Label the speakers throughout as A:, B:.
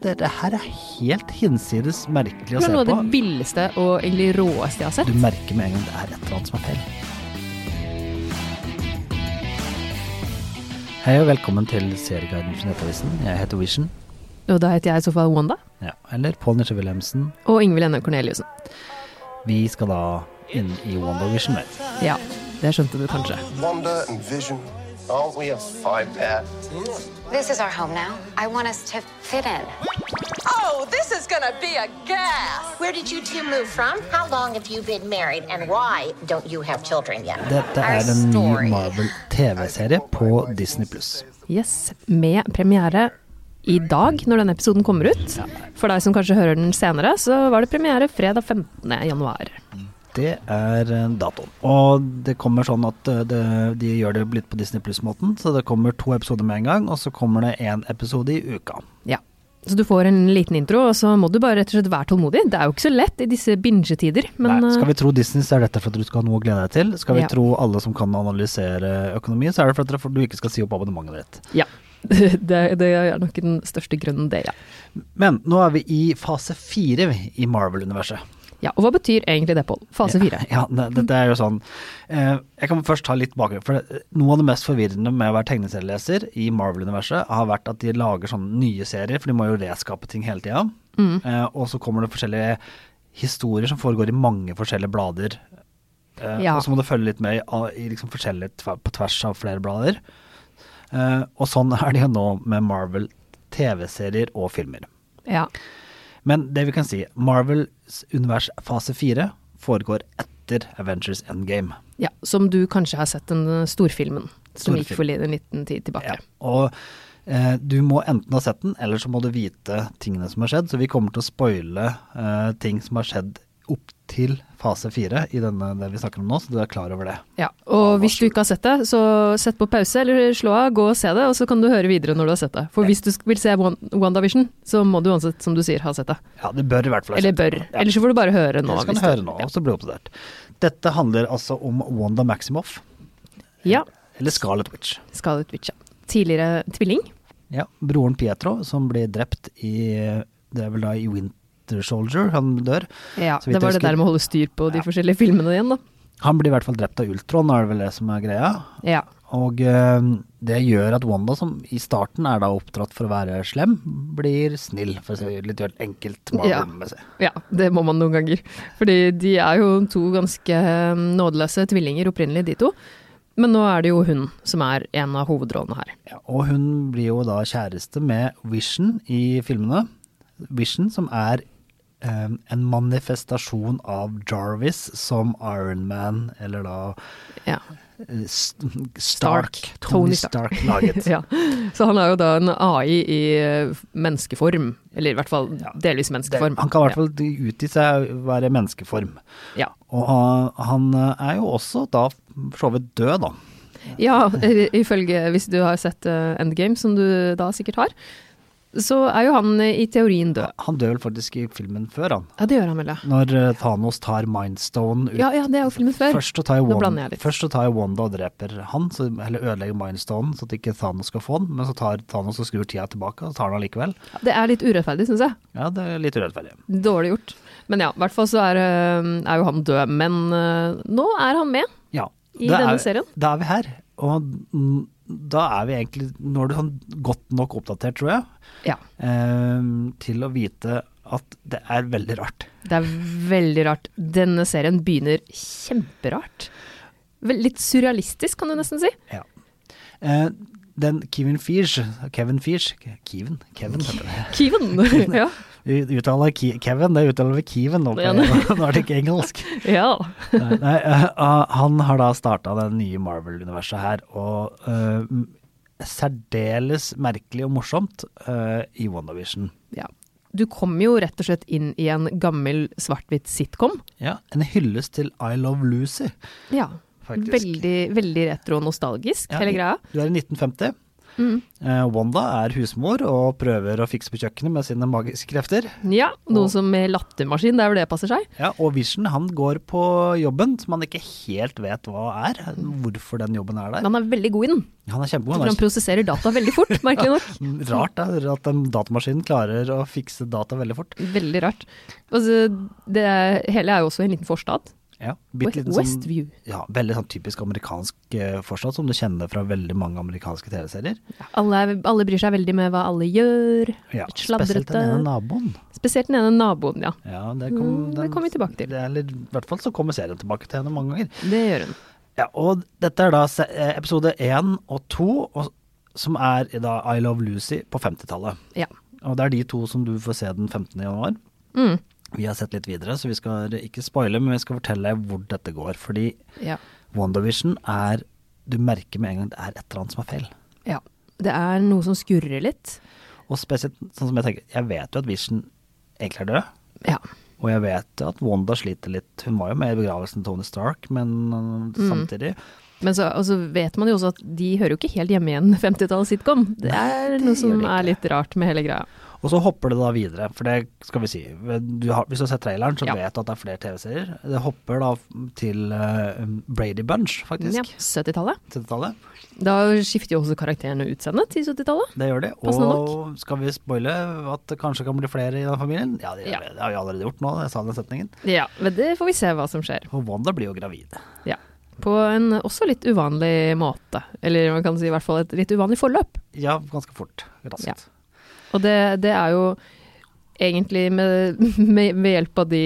A: Det, det her er helt hinsides merkelig å
B: Det er noe
A: se
B: av det
A: på.
B: villeste og egentlig råeste jeg har
A: Du
B: sett.
A: merker med en gang det er et eller annet som er feil. Hei og velkommen til Serieguiden fra Nettavisen. Jeg heter Vision.
B: Og da heter jeg i så fall Wanda.
A: Ja, eller Pål Nisje Wilhelmsen.
B: Og Ingvild Enne Corneliussen.
A: Vi skal da inn i WandaVision. vel.
B: Ja, det skjønte du kanskje.
C: Wonder and Vision. Aren't we a five pair?
D: This is our home now. I want us to fit in.
E: Oh, this is gonna be a gas!
F: Where did you two move from? How long have you been married, and why don't you have children yet?
A: Dette
F: Our
A: er en ny
F: story.
A: Marvel-TV-serie på Disney pluss.
B: Yes, med premiere i dag, når denne episoden kommer ut. For deg som kanskje hører den senere, så var det premiere fredag 15. januar.
A: Det er eh, datoen. Og det kommer sånn at eh, det, de gjør det litt på Disney Pluss-måten, så det kommer to episoder med en gang, og så kommer det én episode i uka.
B: Ja. Så du får en liten intro, og så må du bare rett og slett være tålmodig. Det er jo ikke så lett i disse bingetider, men eh,
A: Nei, skal vi tro Disney, så er dette for at du skal ha noe å glede deg til. Skal vi
B: Ja.
A: tro alle som kan analysere økonomi, så er det for at dere- for du ikke skal si opp abonnementet ditt.
B: eh, ja. Det, det er nok den største grunnen, det, ja.
A: Men nå er vi i fase fire vi, i Marvel-universet.
B: ja. Og hva betyr egentlig det, Pål? Fase fire.
A: Ja, ne- dette er jo sånn eh, Jeg kan først ta litt bakgrunn. For det- noe av det mest forvirrende med å være tegneserieleser i Marvel-universet, har vært at de lager sånne nye serier, for de må jo reskape ting hele tida.
B: Mm.
A: Eh, og så kommer det forskjellige historier som foregår i mange forskjellige blader. Eh,
B: Ja.
A: Og så må du følge litt med i, av- i liksom forskjellige tver, på tvers av flere blader. Eh, og sånn er det jo nå med Marvel TV-serier og filmer.
B: Ja.
A: Men det vi kan si, Marvels univers fase 4 foregår etter Avengers Endgame.
B: Ja, som du kanskje har sett den eh, storfilmen som
A: Storfilm.
B: gikk for li- en liten tid tilbake.
A: Og eh, du må enten ha sett den, eller så må du vite tingene som har skjedd. Så vi kommer til å spoile eh, ting som har skjedd opp til fase 4 i denne, det vi snakker om nå, så du er klar over det.
B: Ja, og hvis du ikke har sett det, så sett på pause eller slå av, gå og se det, og så kan du høre videre når du har sett det. For hvis du sk- vil se Wan- WandaVision, så må du uansett, som du sier, ha sett det.
A: Ja, det bør i hvert fall ha
B: Eller
A: skjedd.
B: bør.
A: Ja.
B: Eller så får du bare høre nå.
A: Ellers kan
B: hvis
A: du høre nå, og så blir du oppdatert. Dette handler altså om Wanda Maximoff,
B: Ja.
A: eller Scarlet Witch.
B: Scarlett Witch, ja. Tidligere tvilling.
A: Ja, broren Pietro som blir drept i Det er vel da i Winter Soldier han dør.
B: Ja,
A: Så vidt
B: det var
A: jeg
B: det der med
A: husker.
B: å holde styr på de forskjellige filmene igjen, da.
A: Han blir i hvert fall drept av Ultron, er det vel det som er greia.
B: Ja.
A: Og eh, det gjør at Wanda, som i starten er da oppdratt for å være slem, blir snill, for å si det litt enkelt.
B: Ja.
A: Marvel-messig.
B: Ja, det må man noen ganger. Fordi de er jo to ganske eh, nådeløse tvillinger opprinnelig, de to. Men nå er det jo hun som er en av hovedrollene her.
A: Ja, og hun blir jo da kjæreste med Vision i filmene. Vision som er eh, en manifestasjon av Jarvis som Iron Man, eller da
B: Ja.
A: eh, S- Stark,
B: Tony
A: Tony
B: Stark.
A: Stark laget.
B: ja. Så han er jo da en AI i eh, menneskeform. Eller i hvert fall delvis
A: Det,
B: menneskeform.
A: han kan i hvert fall utgi seg å være menneskeform.
B: Ja.
A: Og han, han eh, er jo også da for så vidt død, da.
B: Ja, i- ifølge hvis du har sett eh, Endgame, som du da sikkert har, så er jo han eh, i teorien død.
A: Han dør vel faktisk i filmen før, han.
B: Ja, det gjør han vel, ja.
A: Når eh, Thanos tar Mindstone ut.
B: Ja, ja, det er jo filmen før.
A: Først så tar jo
B: Nå
A: Wanda-
B: blander jeg litt.
A: først så tar jo Wanda og dreper han, så, eller ødelegger Mindstone, så at ikke Thanos skal få den. Men så tar Thanos og skrur tida tilbake, og så tar han allikevel.
B: Det er litt urettferdig, syns jeg.
A: Ja, det er litt urettferdig.
B: Dårlig gjort. Men ja, i hvert fall så er, eh, er jo han død. Men eh, nå er han med.
A: Ja.
B: I
A: da
B: denne
A: er,
B: serien?
A: Da er vi her. Og mm, da er vi egentlig Nå er du sånn godt nok oppdatert, tror jeg,
B: Ja.
A: eh, til å vite at det er veldig rart.
B: Det er veldig rart. Denne serien begynner kjemperart. Vel, Litt surrealistisk, kan du nesten si.
A: Ja. Eh, den Kevin Feige Kevin Feige Kevin? Kevin heter det.
B: Kiven! ja.
A: Vi uttaler Ki Kevin, det uttaler vi Kevin nå.
B: Ja,
A: På,
B: det-
A: nå er det ikke engelsk.
B: ja.
A: Nei, nei, eh, ah, han har da starta det nye Marvel-universet her, og eh, m- særdeles merkelig og morsomt eh, i WandaVision.
B: ja. Du kom jo rett og slett inn i en gammel svart-hvitt sitcom.
A: Ja, en hyllest til I Love Lucy.
B: Ja.
A: Faktisk.
B: Veldig, veldig retro og nostalgisk,
A: Ja,
B: hele greia.
A: Du er i 1950. Eh, Wanda er husmor og prøver å fikse på kjøkkenet med sine magiske krefter.
B: Ja, noe som med lattermaskin, det er hvor det passer seg.
A: Ja, og Vision han går på jobben som han ikke helt vet hva er, hvorfor den jobben er der.
B: Men han er veldig god i den,
A: Han er kjempegod.
B: for han
A: Han er
B: prosesserer data veldig fort, merkelig nok.
A: Rart da, at en datamaskin klarer å fikse data veldig fort.
B: Veldig rart. Altså, det hele er jo også en liten forstad.
A: Ja, bitte
B: West-
A: liten sånn-
B: Westview.
A: Ja, veldig sånn typisk amerikansk eh, forstad, som du kjenner fra veldig mange amerikanske TV-serier.
B: Alle, er, alle bryr seg veldig med hva alle gjør.
A: Ja,
B: Litt
A: spesielt den ene naboen.
B: Spesielt den ene naboen, ja.
A: Ja, det, kom,
B: Mm, det kommer vi tilbake til.
A: Det er litt, I hvert fall så kommer serien tilbake til henne mange ganger.
B: Det gjør hun.
A: Ja, og dette er da se- eh, episode én og to, og, som er i da I Love Lucy på 50-tallet.
B: Ja.
A: Og det er de to som du får se den 15. januar.
B: Mm.
A: Vi har sett litt videre, så vi skal ikke spoile, men vi skal fortelle hvor dette går. Fordi
B: ja.
A: WandaVision er Du merker med en gang at det er et eller annet som er feil.
B: Ja. Det er noe som skurrer litt.
A: Og spesielt sånn som jeg tenker, jeg vet jo at Vision egentlig er død.
B: Ja.
A: Og jeg vet at Wanda sliter litt. Hun var jo med i begravelsen til Tony Stark, men øh,
B: Mm.
A: samtidig
B: Men så og så vet man jo også at de hører jo ikke helt hjemme i en 50-talls-sitcom. Det er noe som
A: gjør de
B: er litt rart med hele greia.
A: Og så hopper det da videre, for det skal vi si. Du har, hvis du har sett traileren, så
B: Ja.
A: vet du at det er flere TV-serier. Det hopper da til øh, Brady Bunch, faktisk.
B: Ja, 70-tallet.
A: 70-tallet.
B: Da skifter jo også karakterene utseende til 70-tallet.
A: Det gjør de.
B: Passende
A: Og skal vi spoile at det kanskje kan bli flere i den familien? Ja, det,
B: Ja.
A: det har vi allerede gjort nå, jeg sa den setningen.
B: Ja, men det får vi se hva som skjer.
A: Og Wanda blir jo gravid.
B: Ja. På en også litt uvanlig måte. Eller man kan si i hvert fall et litt uvanlig forløp.
A: Ja, ganske fort. Raskt.
B: Ja. Og det, det er jo egentlig med, med, ved hjelp av de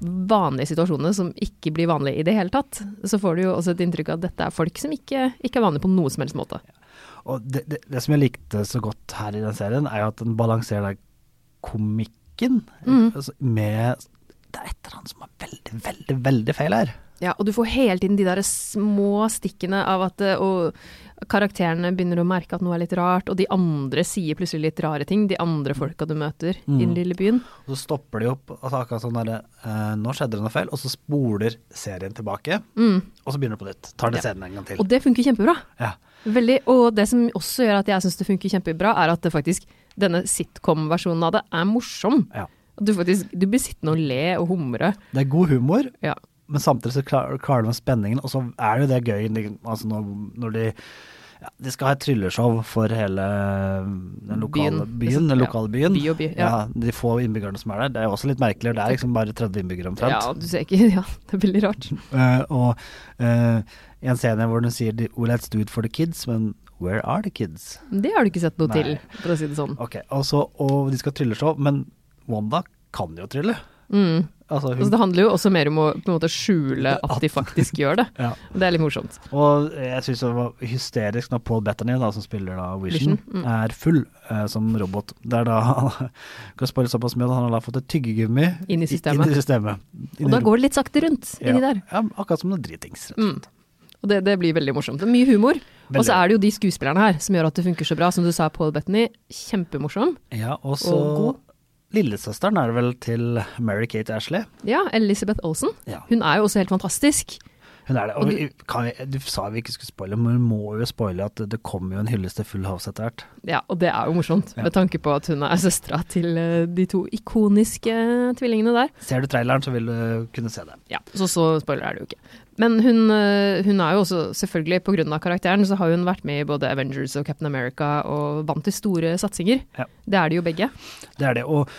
B: vanlige situasjonene som ikke blir vanlige i det hele tatt, så får du jo også et inntrykk av at dette er folk som ikke, ikke er vanlige på noen som helst måte.
A: Og det, det, det som jeg likte så godt her i den serien, er jo at den balanserer den komikken
B: Mm.
A: altså, med Det er et eller annet som er veldig, veldig, veldig feil her.
B: Ja, og du får hele tiden de der små stikkene av at eh, og karakterene begynner å merke at noe er litt rart, og de andre sier plutselig litt rare ting, de andre folka du møter i den lille byen.
A: Og så stopper de opp, altså akkurat sånn derre eh, Nå skjedde det noe feil, og så spoler serien tilbake. Og så begynner det på nytt. Tar den scenen en gang til.
B: Mm. Og det funker kjempebra.
A: Ja.
B: Veldig, og det som også gjør at jeg syns det funker kjempebra, er at det faktisk, denne sitcom-versjonen av det er morsom.
A: Ja.
B: At Du, faktisk, du blir sittende og le og humre.
A: Det er god humor,
B: Ja.
A: men samtidig så klar- klarer de med spenningen, og så er det jo det gøy liksom, altså når, når de ja, de skal ha et trylleshow for hele den lokale byen.
B: Byen.
A: den
B: Ja.
A: lokale byen.
B: By og by, ja.
A: De få innbyggerne som er der. Det er jo også litt merkelig. Det er liksom bare 30 innbyggere
B: ja,
A: omtrent.
B: du ser ikke Ja, det er veldig rart.
A: Eh, og eh, en scene hvor hun sier de- well, let's do it for the kids, men where are the kids?
B: Det har du ikke sett noe
A: Nei.
B: til, for å si det sånn.
A: Ok, og, så, og de skal trylleshow, men Wanda kan jo trylle. Altså, hun
B: Altså, det handler jo også mer om å på en måte skjule at de faktisk gjør det.
A: Ja.
B: Det er litt morsomt.
A: Og jeg syns det var hysterisk når Paul Bettany, da, som spiller da Vision,
B: mm.
A: er full eh, som robot. Det er da han kan spille såpass mye at han har da fått et tyggegummi
B: Inn i systemet.
A: Inn i systemet.
B: Og da går det litt sakte rundt inni der. Mm.
A: Ja, akkurat som noe dritings. rett og slett.
B: Og det, det blir veldig morsomt. Det er mye humor. Og
A: Veldig.
B: så er det jo de skuespillerne her som gjør at det funker så bra. Som du sa, Paul Bettany, kjempemorsom.
A: Ja, og så
B: Og god.
A: Lillesøsteren er det vel til Mary-Kate Ashley.
B: Ja, Elizabeth Olsen.
A: Ja.
B: Hun er jo også helt fantastisk.
A: Hun er det. Og vi, kan, vi- du sa vi ikke skulle spoile, men vi må jo spoile at det kommer jo en hyllest til Full House etter hvert.
B: Ja, og det er jo morsomt, med tanke på at hun er søstera til eh, de to ikoniske eh, tvillingene der.
A: Ser du traileren, så vil du kunne se det.
B: Ja, så så spoiler er det jo ikke. Men hun, eh, hun er jo også, selvfølgelig på grunn av karakteren, så har hun vært med i både Avengers og Captain America og vant til store satsinger.
A: Ja.
B: Det er de jo begge.
A: Det er det. Og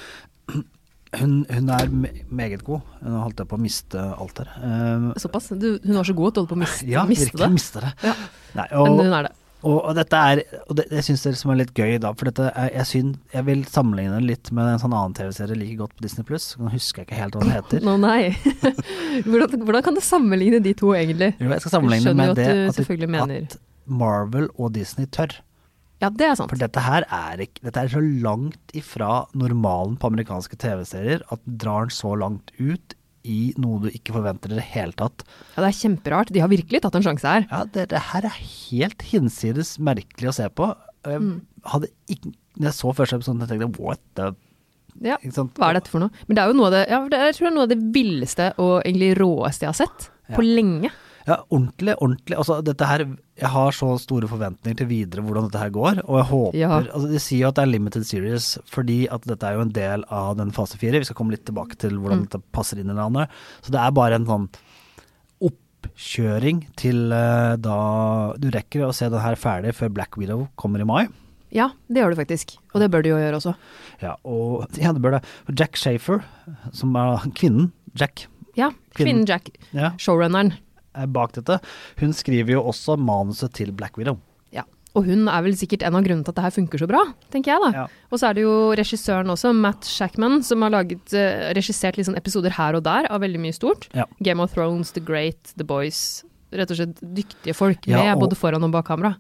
A: hun, hun er me- meget god. Hun holdt jeg på å miste alt her. Eh,
B: Såpass. Du, hun var så god at du holdt på å miste,
A: ja,
B: miste
A: virkelig
B: det.
A: miste det.
B: Ja.
A: Nei,
B: Men
A: og,
B: hun er det.
A: og, og dette er Og det, det syns jeg liksom er litt gøy, da. For dette er, jeg, syn, jeg vil sammenligne det litt med en sånn annen TV-serie like godt på Disney Pluss. Nå husker jeg ikke helt hva den heter.
B: Nå, nei. hvordan, hvordan kan du sammenligne de to, egentlig?
A: Jo, jeg skal sammenligne det
B: Skjønner
A: med
B: jo at
A: det
B: du
A: at,
B: selvfølgelig mener.
A: at Marvel og Disney tør.
B: Ja, det er sant.
A: For dette her er, ikke, dette er så langt ifra normalen på amerikanske TV-serier at den drar den så langt ut i noe du ikke forventer i det hele tatt.
B: Ja, det er kjemperart. De har virkelig tatt en sjanse her.
A: Ja, det, det her er helt hinsides merkelig å se på. Og Jeg hadde ikke, når jeg så første episode, tenkte jeg what the
B: Ja,
A: Ikke sant?
B: Hva er dette for noe? Men det er jo noe av det, ja, det, er- jeg tror det er noe av det villeste og egentlig råeste jeg har sett på lenge.
A: Ja, ordentlig, ordentlig. Altså, dette her, jeg har så store forventninger til videre hvordan dette her går, og jeg håper
B: Ja.
A: altså, De sier jo at det er limited series fordi at dette er jo en del av den fase fire. Vi skal komme litt tilbake til hvordan dette passer inn i hverandre. Så det er bare en sånn oppkjøring til eh, da du rekker å se den her ferdig før Black Widow kommer i mai.
B: Ja, det gjør du faktisk. Og det bør du jo gjøre også.
A: Ja, og ja, det bør det. Og Jack Shafer, som er kvinnen, Jack,
B: Ja,
A: Kvinnen.
B: kvinnen Jack.
A: ja,
B: Showrunneren.
A: er bak dette, hun skriver jo også manuset til Black Widow.
B: Ja. Og hun er vel sikkert en av grunnene til at det her funker så bra, tenker jeg da.
A: Ja.
B: Og så er det jo regissøren også, Matt Shackman, som har laget, eh, regissert litt sånn episoder her og der av veldig mye stort.
A: Ja.
B: Game of Thrones, The Great, The Boys. Rett og slett dyktige folk
A: Ja,
B: med
A: og-
B: både foran og bak kamera.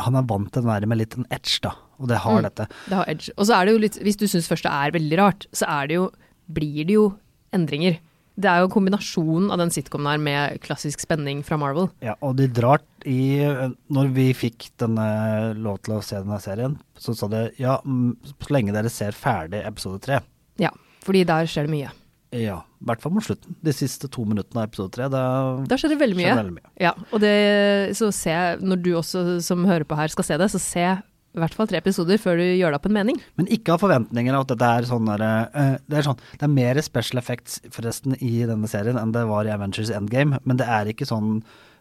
A: han er vant til den der med litt en edge, da, og det har dette.
B: Det har edge. Og så er det jo litt, hvis du syns første er veldig rart, så er det jo, blir det jo endringer. Det er jo kombinasjonen av den sitcomen her med klassisk spenning fra Marvel.
A: Ja, og de drar i Når vi fikk denne lov til å se denne serien, så sa det ja, mm, så lenge dere ser ferdig episode tre.
B: Ja, fordi der skjer det mye.
A: Ja, i hvert fall mot slutten. De siste to minuttene av episode tre. Da,
B: Der skjer det veldig mye.
A: Skjer veldig mye.
B: Ja, og det, så se, når du også som hører på her skal se det, så se i hvert fall tre episoder før du gjør deg opp en mening.
A: Men ikke ha forventninger av at dette er sånn der, eh, det, er sånn, det er mer special effects forresten i denne serien enn det var i Avengers Endgame, men det er ikke sånn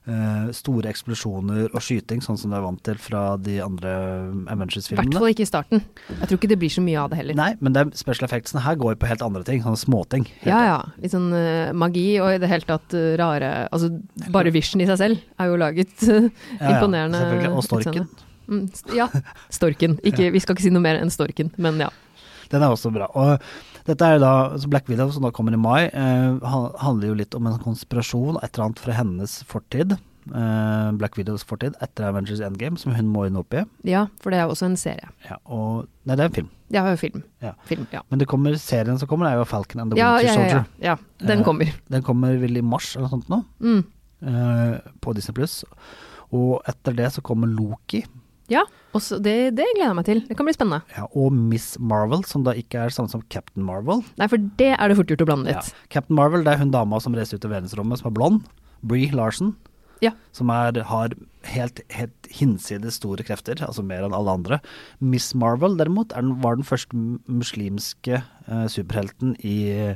A: eh, store eksplosjoner og skyting, sånn som du er vant til fra de andre eh,
B: I hvert
A: Avengers-filmene.
B: fall ikke i starten. Jeg tror ikke det blir så mye av det heller.
A: Nei, men det er special effectsene her går jo på helt andre ting, sånne småting.
B: Ja ja, litt sånn eh, magi og i det hele tatt eh, rare Altså bare Vision i seg selv er jo laget eh,
A: Ja, ja,
B: imponerende.
A: selvfølgelig. Og
B: utseende.
A: storken.
B: Mm, st- ja, storken. Ikke, vi skal ikke si noe mer enn storken, men ja.
A: Den er også bra. Og dette er jo da så Black Widow, som da kommer i mai, eh, han- handler jo litt om en konspirasjon, et eller annet fra hennes fortid. Eh, Black Widows fortid etter Avengers Endgame, som hun må inn opp i.
B: Ja, for det er jo også en serie.
A: Ja, og, nei, det er en film.
B: Det er jo film.
A: Ja.
B: Film, ja.
A: Men det kommer, serien som kommer, er jo Falcon and the
B: Ja,
A: Winter
B: ja, ja, ja,
A: Soldier.
B: ja. Den
A: Eh,
B: kommer.
A: Den kommer vel i mars eller noe sånt nå,
B: Mm.
A: eh, på Disney Pluss. Og etter det så kommer Loki.
B: Ja, også, det, det gleder jeg meg til. Det kan bli spennende.
A: Ja, og Miss Marvel, som da ikke er samme som Captain Marvel.
B: Nei, for det er det fort gjort å blande
A: Ja.
B: litt.
A: Captain Marvel det er hun dama som reiser ut i verdensrommet, som er blond. Bree Larson.
B: Ja.
A: Som er, har helt, helt hinsides store krefter, altså mer enn alle andre. Miss Marvel derimot er den, var den første m- muslimske eh, superhelten i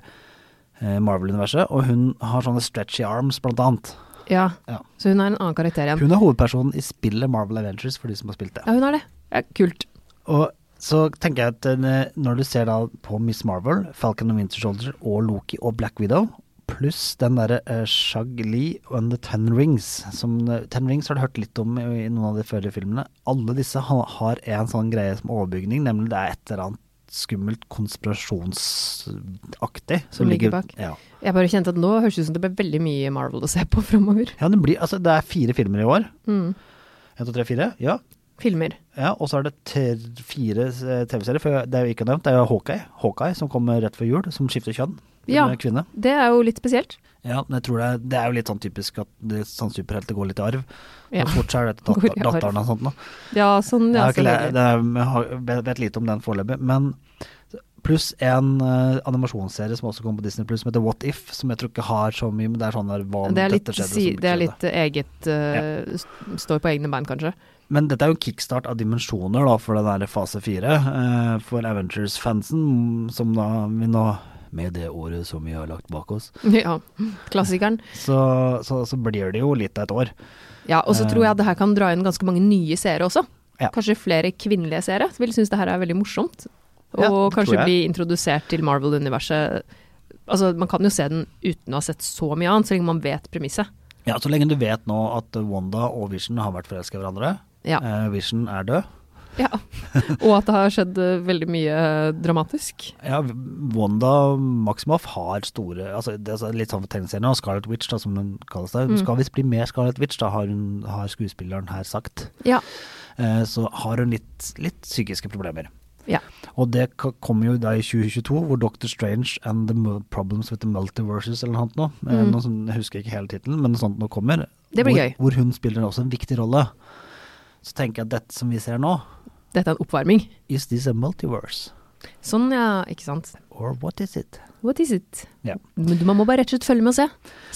A: eh, Marvel-universet, og hun har sånne stretchy arms, blant annet.
B: ja.
A: Ja.
B: Så hun er en annen karakter igjen.
A: Hun er hovedpersonen i spillet Marvel Adventures, for de som har spilt det.
B: Ja, hun er det. Ja, kult.
A: Og så tenker jeg at eh, når du ser da på Miss Marvel, Falcon and Winter Soldier og Loki og Black Widow, pluss den derre uh, Shag Li and The Ten Rings som, eh, Ten Rings har du hørt litt om i, i noen av de førre filmene. Alle disse ha, har en sånn greie som overbygning, nemlig det er et eller annet skummelt konspirasjonsaktig
B: Som ligger bak.
A: Ja.
B: Jeg bare kjente at nå høres det ut som det ble veldig mye Marvel å se på framover.
A: ja, det blir Altså, det er fire filmer i år.
B: Mm.
A: En, to, tre, fire. Ja.
B: Filmer.
A: Ja, og så er det ter, fire eh, TV-serier, for det er jo ikke nevnt. Det er jo Hawkeye, Hawkeye som kommer rett før jul, som skifter kjønn. til
B: Ja.
A: en Kvinne.
B: Det er jo litt spesielt.
A: Ja, men jeg tror det, er- det er jo litt sånn typisk at det, sånn superhelter går litt i arv.
B: Ja.
A: Og fort så er det datter,
B: Går i arv.
A: datteren og sånt noe.
B: Ja, sånn,
A: Jeg,
B: ja,
A: har ikke, le-
B: selvfølgelig.
A: det, er- jeg har, vet, vet lite om den foreløpig. Men pluss en eh, animasjonsserie som også kommer på Disney som heter What If, som jeg tror ikke har så mye, men det er sånn der hva om
B: Det er litt,
A: dette skjedde,
B: si,
A: som ikke
B: det er
A: skjedde.
B: litt eget eh, st- Står på egne bein, kanskje.
A: Men dette er jo en kickstart av dimensjoner da, for den der fase fire. eh, for Avengers-fansen, mm, som da vi nå Med det året som vi har lagt bak oss,
B: Ja, klassikeren.
A: så, så, så blir det jo litt av et år.
B: Ja, og så
A: Eh.
B: tror jeg det her kan dra inn ganske mange nye seere også.
A: Ja.
B: Kanskje flere kvinnelige seere vil synes det her er veldig morsomt. Og
A: Ja, det tror
B: kanskje
A: jeg.
B: bli introdusert til Marvel-universet. Altså, man kan jo se den uten å ha sett så mye annet, så lenge man vet premisset.
A: Ja, Så lenge du vet nå at Wanda og Vision har vært forelska i hverandre.
B: Ja.
A: eh, Vision er død.
B: Ja. og at det har skjedd eh, veldig mye dramatisk.
A: Ja, Wanda Maximoff har store altså det er Litt sånn for tegneseriene. Og Scarlet Witch, da, som hun kalles der. Hun skal visst bli mer Scarlet Witch, da, har, hun, har skuespilleren her sagt.
B: Ja.
A: Eh, så har hun litt, litt psykiske problemer.
B: ja.
A: Og det k- kommer jo da i 2022, hvor Doctor Strange and the Mul- Problems with the Multiverses eller noe sånt nå. Eh, noe sånt, jeg husker ikke hele tittelen, men noe sånt nå kommer.
B: Mm. Det blir
A: hvor,
B: gøy.
A: Hvor hun spiller også en viktig rolle. Så tenker jeg at dette som vi ser nå,
B: Dette er en oppvarming.
A: is this a multiverse?
B: Sånn, ja. Ikke sant.
A: Or what is it?
B: What is it?
A: Ja.
B: Men du- Man må bare rett og slett følge med og se.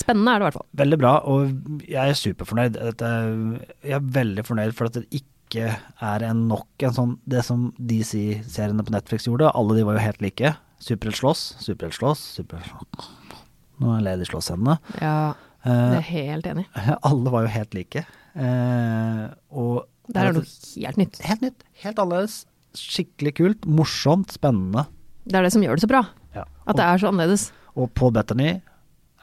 B: Spennende er det i hvert fall.
A: Veldig bra, og jeg er superfornøyd. Dette er- Jeg er veldig fornøyd for at det ikke er en nok en sånn Det som DC-seriene på Netflix gjorde, alle de var jo helt like. Superhelt slåss, superhelt slåss, superhelt slåss. Nå er Lady slåss henne.
B: Ja, det er
A: Eh,
B: jeg helt enig. i.
A: alle var jo helt like. Eh, og
B: Der er det noe helt nytt.
A: Helt nytt, helt annerledes. Skikkelig kult, morsomt, spennende.
B: Det er det som gjør det så bra.
A: Ja.
B: At det er så annerledes.
A: Og Paul Bettany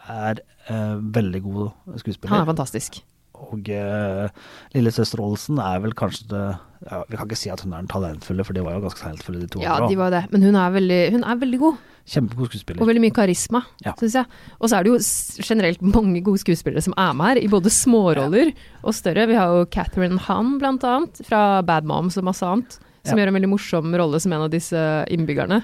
A: er eh, veldig god skuespiller.
B: Han er fantastisk.
A: Og eh, lillesøster Olsen er vel kanskje det ja, Vi kan ikke si at hun er den talentfulle, for de var jo ganske talentfulle, de to.
B: Ja,
A: andre også.
B: de var jo det. Men hun er veldig, hun er veldig god.
A: Kjempegod skuespiller.
B: Og veldig mye karisma,
A: Ja.
B: syns jeg. Og så er det jo s- generelt mange gode skuespillere som er med her, i både småroller og større. Vi har jo Catherine Hahn, blant annet, fra Bad Moms og masse annet, som
A: Ja.
B: gjør en veldig morsom rolle som en av disse innbyggerne.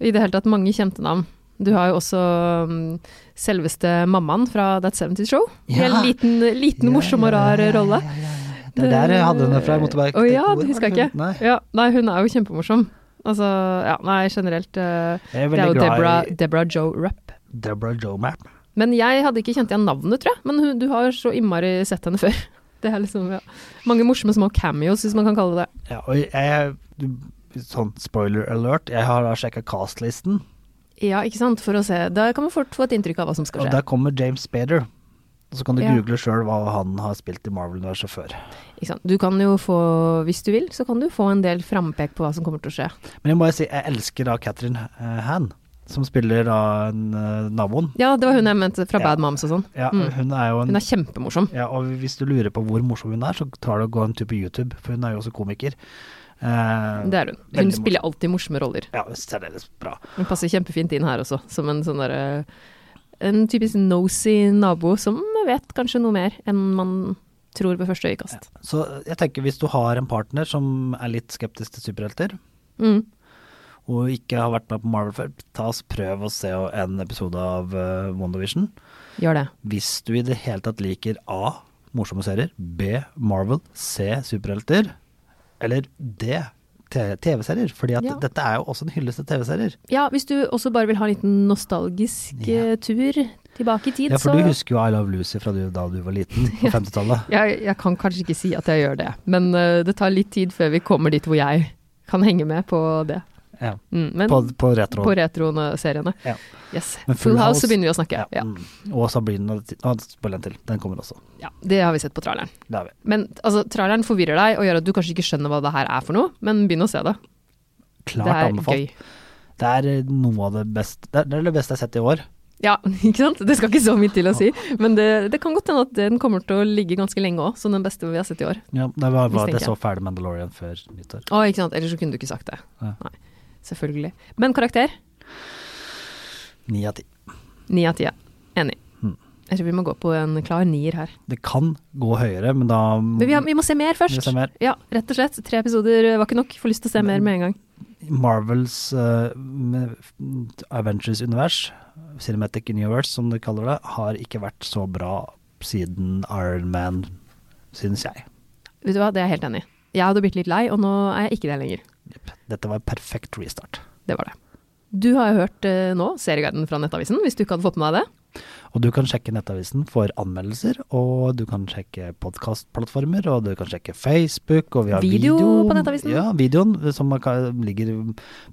B: I det hele tatt mange kjente navn. Du har jo også mm, selveste mammaen fra That 70's Show.
A: Ja.
B: En liten, liten
A: Ja,
B: morsom og
A: ja,
B: rar
A: ja, ja,
B: rolle.
A: ja,
B: Eh,
A: ja, ja. Det er der jeg hadde henne fra. Jeg måtte bare
B: Å ja,
A: tenke, hvor
B: det
A: var
B: husker
A: det
B: jeg
A: hun- Nei.
B: ikke. Ja, nei, hun er jo kjempemorsom. Altså, ja, nei, generelt
A: Jeg
B: eh,
A: er
B: Det er
A: veldig
B: jo Deborah,
A: glad i
B: Deborah Jo Rupp.
A: Deborah Jo Mapp.
B: Men jeg hadde ikke kjent igjen navnet, tror jeg. Men hun, du har så innmari sett henne før. Det er liksom, ja. Mange morsomme små cameos, hvis man kan kalle det det.
A: Ja, og jeg, sånn spoiler alert, jeg har sjekka castlisten,
B: Ja, ikke sant. For å se. Da kan man fort få et inntrykk av hva som skal
A: og
B: skje.
A: der kommer James Spader. Og så kan du
B: Ja.
A: google sjøl hva han har spilt i Marvel-universet før.
B: Ikke sant? Du kan jo få, hvis du vil, så kan du få en del frampek på hva som kommer til å skje.
A: Men jeg må jo si, jeg elsker da Catherine eh, Han, som spiller da en, eh, naboen.
B: Ja, det var hun jeg mente fra
A: Ja.
B: Bad Moms og sånn.
A: Ja, Hun er jo en
B: Hun er kjempemorsom.
A: Ja, og hvis du lurer på hvor morsom hun er, så tar det å gå en tur på YouTube, for hun er jo også komiker. Eh,
B: Det er hun.
A: veldig
B: Hun
A: morsom.
B: spiller alltid morsomme roller.
A: Ja, særdeles bra.
B: Hun passer kjempefint inn her også, som en sånn derre En typisk nosy nabo som vet kanskje noe mer enn man tror ved første øyekast.
A: Så jeg tenker hvis du har en partner som er litt skeptisk til superhelter,
B: Mm.
A: og ikke har vært med på Marvel før, ta oss prøv å se en episode av eh, WandaVision.
B: Gjør det.
A: Hvis du i det hele tatt liker A. Morsomme serier. B. Marvel. C. Superhelter. Eller D. T- TV-serier. Fordi at
B: Ja.
A: dette er jo også en hyllest til TV-serier.
B: Ja, hvis du også bare vil ha en liten nostalgisk eh, tur tilbake i tid,
A: Ja, for
B: så
A: du husker jo I Love Lucy fra du, da du var liten, på 50-tallet.
B: jeg, jeg kan kanskje ikke si at jeg gjør det, men eh, det tar litt tid før vi kommer dit hvor jeg kan henge med på det.
A: Ja.
B: Mm, men
A: På, på retro.
B: på retroene-seriene.
A: Ja.
B: Yes.
A: Men Full
B: Full House,
A: House-
B: så begynner vi å snakke.
A: Ja.
B: Ja.
A: Mm. Og Sabrina Nå spiller den til. Den kommer også.
B: ja, Det har vi sett på traileren.
A: Det er vi.
B: Men altså, traileren forvirrer deg og gjør at du kanskje ikke skjønner hva det her er for noe, men begynn å se det.
A: Klart
B: Det er
A: anbefalt.
B: gøy.
A: Det er eh, noe av det beste Det er- det er det beste jeg har sett i år.
B: Ja, ikke sant? Det skal ikke så mye til å si, men det, det kan godt hende at den kommer til å ligge ganske lenge òg, som den beste vi har sett i år.
A: Ja, det var, var at jeg
B: Mistenker
A: så ferdig Mandalorian før nyttår.
B: Å, ikke sant? Ellers så kunne du ikke sagt det.
A: Ja.
B: Nei, selvfølgelig. Men karakter?
A: Ni av ti.
B: Ni av ti. ja. Enig.
A: Hmm.
B: Jeg tror vi må gå på en klar nier her.
A: Det kan gå høyere, men da
B: Men vi, har, vi må se mer først.
A: Hmm. Vi må se mer.
B: Ja, rett og slett. Tre episoder var ikke nok. Får lyst til å se mer med en gang.
A: Marvels eh, med- Avengers-univers, Cinematic Universe som de kaller det, har ikke vært så bra siden Iron Man, syns jeg.
B: Vet du hva, det er jeg helt enig i. Jeg hadde blitt litt lei, og nå er jeg ikke det lenger.
A: Dette var perfekt restart.
B: Det var det. Du har jo hørt eh, nå Serieguiden fra Nettavisen, hvis du ikke hadde fått med deg det.
A: Og du kan sjekke Nettavisen for anmeldelser, og du kan sjekke podkastplattformer, og du kan sjekke Facebook, og vi har
B: Video
A: video,
B: på Nettavisen.
A: Ja, videoen eh, som man kan- ligger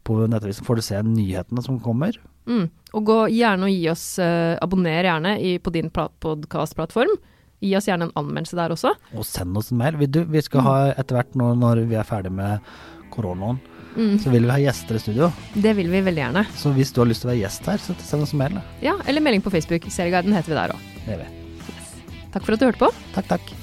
A: på Nettavisen får du se nyhetene som kommer.
B: Mm. Og gå gjerne og gi oss, eh, abonner gjerne i, på din podkastplattform. Gi oss gjerne en anmeldelse der også.
A: Og send oss en mail. Vi, du, vi
B: Mm.
A: skal ha etter hvert, når, når vi er ferdig med koronaen,
B: Mm.
A: så vil vi ha gjester i studio.
B: Det vil vi veldig gjerne.
A: Så hvis du har lyst til å være gjest her, så send oss en mail. da.
B: Ja, eller melding på Facebook. Serieguiden heter vi der òg.
A: Det er vi.
B: Takk for at du hørte på.
A: Takk, takk.